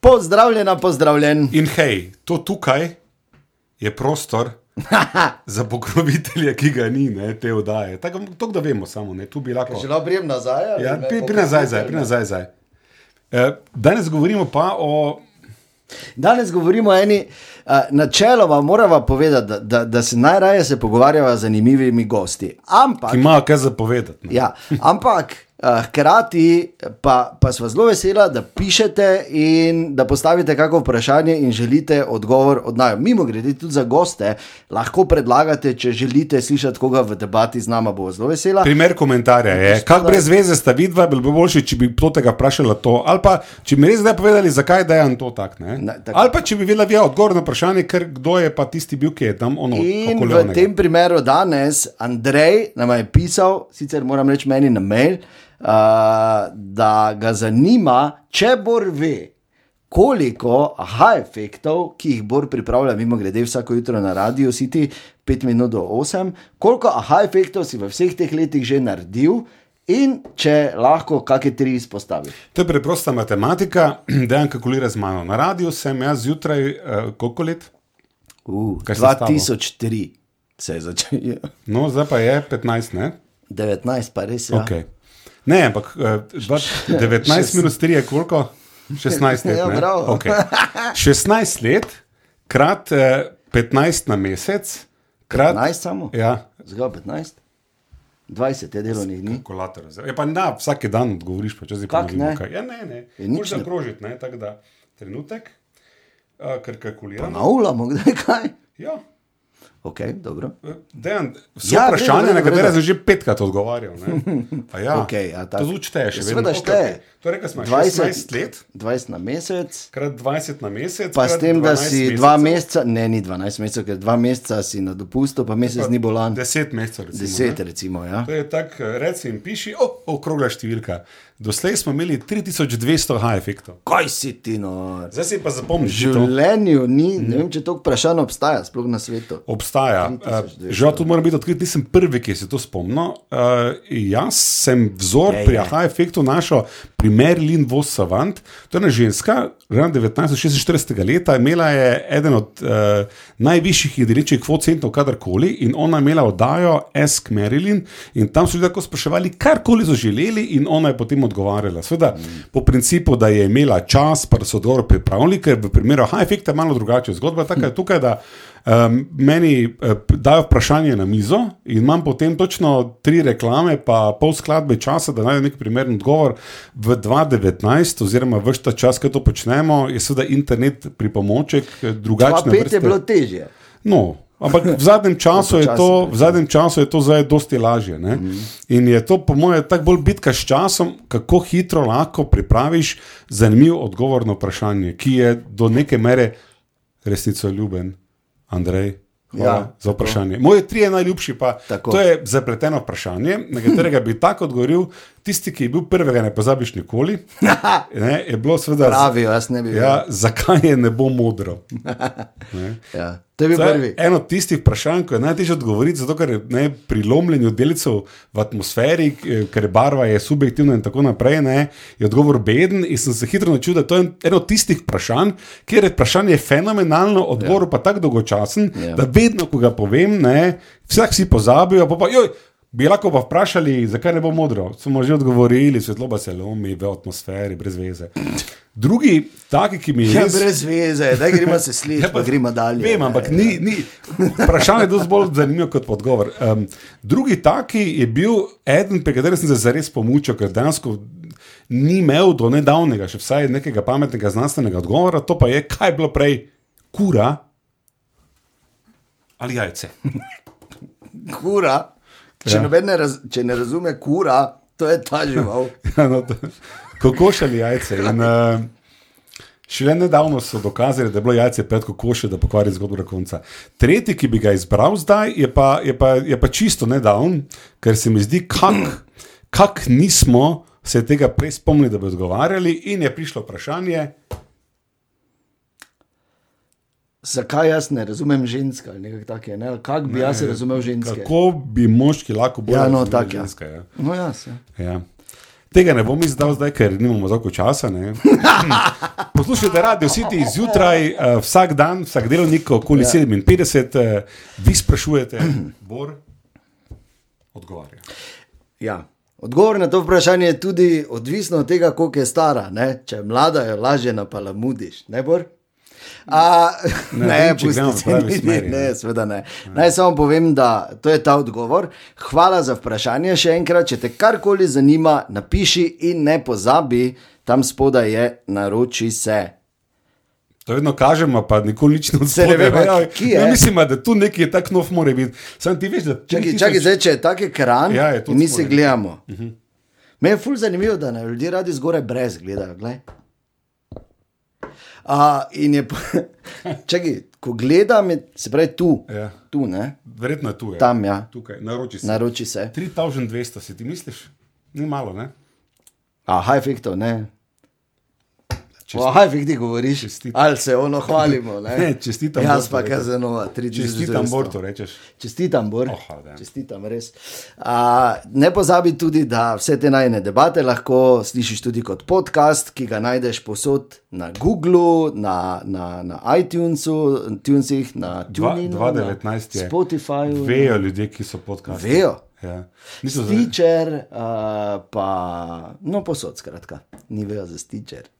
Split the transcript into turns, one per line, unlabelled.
Pozdravljena, pozdravljen.
In hej, to tukaj je prostor za pokrovitelje, ki ga ni, ne, te oddaje. Tako to, da vemo, samo ne, tu bi lahko.
Že lahko prijem nazaj? ali
Ja,
ne?
pri, pri nazaj, zdaj, pri nazaj. Zdaj. Eh, Danes govorimo pa o.
Danes govorimo o eni, uh, načeloma moramo povedati, da, da, da se najraje se pogovarjava z zanimivimi gosti. Ampak,
ki imajo kaj no. zapovedati. ne.
ja, ampak uh, hkrati pa, pa smo zelo vesela, da pišete in da postavite kakšno vprašanje in želite odgovor od naj. Mimo grede, tudi za goste lahko predlagate, če želite slišati koga v debati z nama, bo zelo vesela.
Primer komentarja je, kako brez veze sta vidva, bi bilo boljše, če bi to tega vprašala to. Ali pa, če bi mi res zdaj povedali, zakaj je on to tak. Ne?
Ne, tako.
Ali pa, če bi vedela vi odgovor na vprašanje, ker kdo je pa tisti bil, ki je tam ono.
In
okoli
v
onega.
tem primeru danes Andrej nam je pisal, sicer moram reči meni na mail, uh, da ga zanima, če Bor ve, koliko aha efektov, ki jih Bor pripravlja, mimo grede vsako jutro na radiju, si ti 5 minut do 8, koliko aha efektov si v vseh teh letih že naredil in če lahko kakšne tri izpostaviš.
To je preprosta matematika, da je kalkulira z mano. Na radiju sem jaz zjutraj, eh, koliko let?
Uh,
Kaj si stavil?
2003 se je začel,
No, zdaj pa je 15, ne?
Ja. 19 pa res je.
Ja. Okay. Ne, ampak eh, dva- 19 minus 3 je koliko? 16 let.
Ja,
ne?
bravo.
Okej. 16 let, krat eh, 15 na mesec, krat.
15 samo?
Ja,
Zgolj 15, 20 je delovnih dni.
kalkulator. zdaj. Ja, pa na vsak dan odgovoriš, pa če zdaj
Kako
ponovimo
ne?
kaj. Ja, ne, ne.
Ja, nič
Moraš
ne-
zaokrožiti, ne, tako da trenutek, eh, ker kalkuliramo.
Naulamo, kdaj kaj?
Ja.
Ok, dobro.
Dejan, vse
Ja,
ja,
v redu, v
vprašanje,
redu,
na
v redu.
katero sem že petkrat odgovarjal. ne. A Ja,
Okej, ja,
to
tako.
zelo šteje, še
Ja,
vedno.
seveda
Okej,
šteje.
okej. Torej, ko smo 16 let,
20 na mesec.
krat 20 na mesec.
Pa s
krat
tem, da
12
si
mesecev,
dva meseca, ne, ni 12 mesecev, ker dva meseca si na dopustu, pa mesec ni bolan.
10 mesecev, recimo.
10,
ne.
recimo. Ja.
To je tako, eh, reci in piši, o, okrogla številka. Doslej smo imeli 3200 H efektov.
Kaj si ti nor?
Zdaj si pa zapomniš,
V
že to
življenju ni, ne vem, če to vprašanje obstaja, sploh na svetu.
obstaja.
3200.
Eh, Žal, tu moram biti odkrit, nisem prvi, ki se to spomnil. Eh, Jaz sem vzor
Ej,
pri
ja.
Aha efektu našel pri Merlin Vos Savant. To je ena ženska, ravno 1946. leta, imela je eden od eh, najvišjih jedrečjih kvotcentov kadarkoli in ona je imela oddajo Ask Marilyn in tam so ljudje tako spraševali, karkoli so želeli in ona je potem odgovarjala. Sveda, mm. po principu, da je imela čas, pa da so odgovor pripravili, ker v primeru Aha efekta je malo drugače. Zgodba je taka je tukaj, da Um, meni uh, dajo vprašanje na mizo, in imam potem točno tri reklame, pa pol skladbe časa, da najdem nek primeren odgovor. V 2019, oziroma v ta čas, ko to počnemo, je seveda internet pripomoček,
Pa
eh, drugačne
pet je
vrste.
bilo težje.
No, ampak v zadnjem času je to, v zadnjem času je to zdaj dosti lažje. Ne? In je to, po mojem, tako bolj bitka s časom, kako hitro lahko pripraviš zanimiv odgovor na vprašanje, ki je do neke mere resnico ljuben, Andrej. Hvala
Ja,
ja, za vprašanje. Moje tri je najljubši, pa
Tako.
tako. to je zapleteno vprašanje, na katerega bi tako odgovoril, tisti, ki je bil prvega, ne pozabiš nikoli. Ne, je bilo seveda, z-
Pravijo, jaz ne bi bil.
ja, zakaj je ne bo modro. Ne.
Ja. To je bil
To je
prvi.
Eno od tistih vprašanj, ki je najtežje odgovoriti, zato ker je ne, pri lomljenju delcev v atmosferi, eh, ker barva je subjektivna in tako naprej, ne, je odgovor beden. In sem se hitro naučil, da to je en- eno od tistih vprašanj, kjer je vprašanje fenomenalno, odgovor ja. pa tako dolgočasen,
Ja.
ja. da vedno, ko ga povem, ne, vsak si pozabijo, pa pa joj. Bi lahko pa vprašali, zakaj ne bo modro. Smo že odgovorili, svetloba se lomi v atmosferi, brez veze. Drugi, taki, ki mi je
Ja,
res-
brez veze, da gremo se slišati,
Ja,
pa gremo dalje.
Vem, ampak ni, ni. Vprašanje je dosti bolj zanimivo kot odgovor. Um, drugi taki je bil eden, pri katerem sem se zares pomočil, ker dejansko ni imel do nedavnega, še vsaj nekega pametnega znanstvenega odgovora, to pa je, kaj je bilo prej, kura ali jajce.
Kura, če, ja.
Ja.
ne, raz, če ne razume kura, to je ta žival.
Ja, no, to- kokoš ali jajce. In, uh, šele nedavno so dokazali, da je bilo jajce pred kokoši, da pokvari zgodbo do konca. Tretji, ki bi ga izbral zdaj, je pa, je pa, je pa čisto nedavn, ker se mi zdi, kak, kak nismo se tega prej spomnili, da bi odgovarjali, in je prišlo vprašanje,
zakaj jaz ne razumem ženska ali nekaj takega, ne? ali kako bi jaz razumel ženske.
Kako bi moški lahko bolj
Ja, no,
razumeli
tako, ja.
ženske? Ja.
No, jaz. Ja.
Ja. Tega ne bom izdal zdaj, ker nimamo veliko časa. ne. Poslušajte, radio City zjutraj, eh, vsak dan, vsak delovnik,
Ja.
okoli 57, eh, vi sprašujete, Bor, odgovarja.
Ja. Odgovor na to vprašanje je tudi odvisno od tega, koliko je stara. Ne? Če je mlada, jo lažje napalamudiš, ne bor? A, ne, ne
vem, če gremo
pusti
v
se
pravi
niti,
smeri, ne. Ja.
ne, seveda ne. Naj samo povem, da to je ta odgovor. Hvala za vprašanje še enkrat. Če te karkoli zanima, napiši in ne pozabi, tam spodaj je naroči se.
To vedno kažemo, pa nikoli nič ne
Se ne ve, pa
odgovarja.
ki je.
Mislim, da tu nekaj tak nov mora biti. Sam ti veš, da tri
Čakaj,
tisoč-
čakaj, zdaj, če je tako ekran,
Ja,
ja,
je Mhm.
je
tudi
mi se
spodaj.
gledamo. Uh -huh. Me je ful zanimivo, da ne ljudje radi zgoraj brez gledajo. glej. A, in je, po- čakaj, ko gledam, je, se pravi tu,
Ja.
tu ne,
Verjetno je tu. Je.
tam ja,
Tukaj, naroči se.
naroči se.
3200 si ti misliš? Ni malo, ne?
Aha, efektov ne.
Čestit-
O aha, efektih govoriš,
Čestitam.
ali se ono hvalimo. Ne,
Ne, čestitam
Jaz
Borku,
pa
rekel.
kazenova, 3000.
Čestitam Borto, rečeš.
Čestitam, Bor.
Oh, hvala.
Čestitam, res. A, ne pozabi tudi, da vse te najne debate lahko slišiš tudi kot podcast, ki ga najdeš posod na Googlu, na, na, na iTunesu, Tunesih, na
Dva-
TuneIn,
2019 je.
Spotifyju,
Vejo ljudje, ki so podcasti.
vejo.
Ja. Niso za-
Stičer, uh, pa no, posod, skratka, ni vejo za stičer.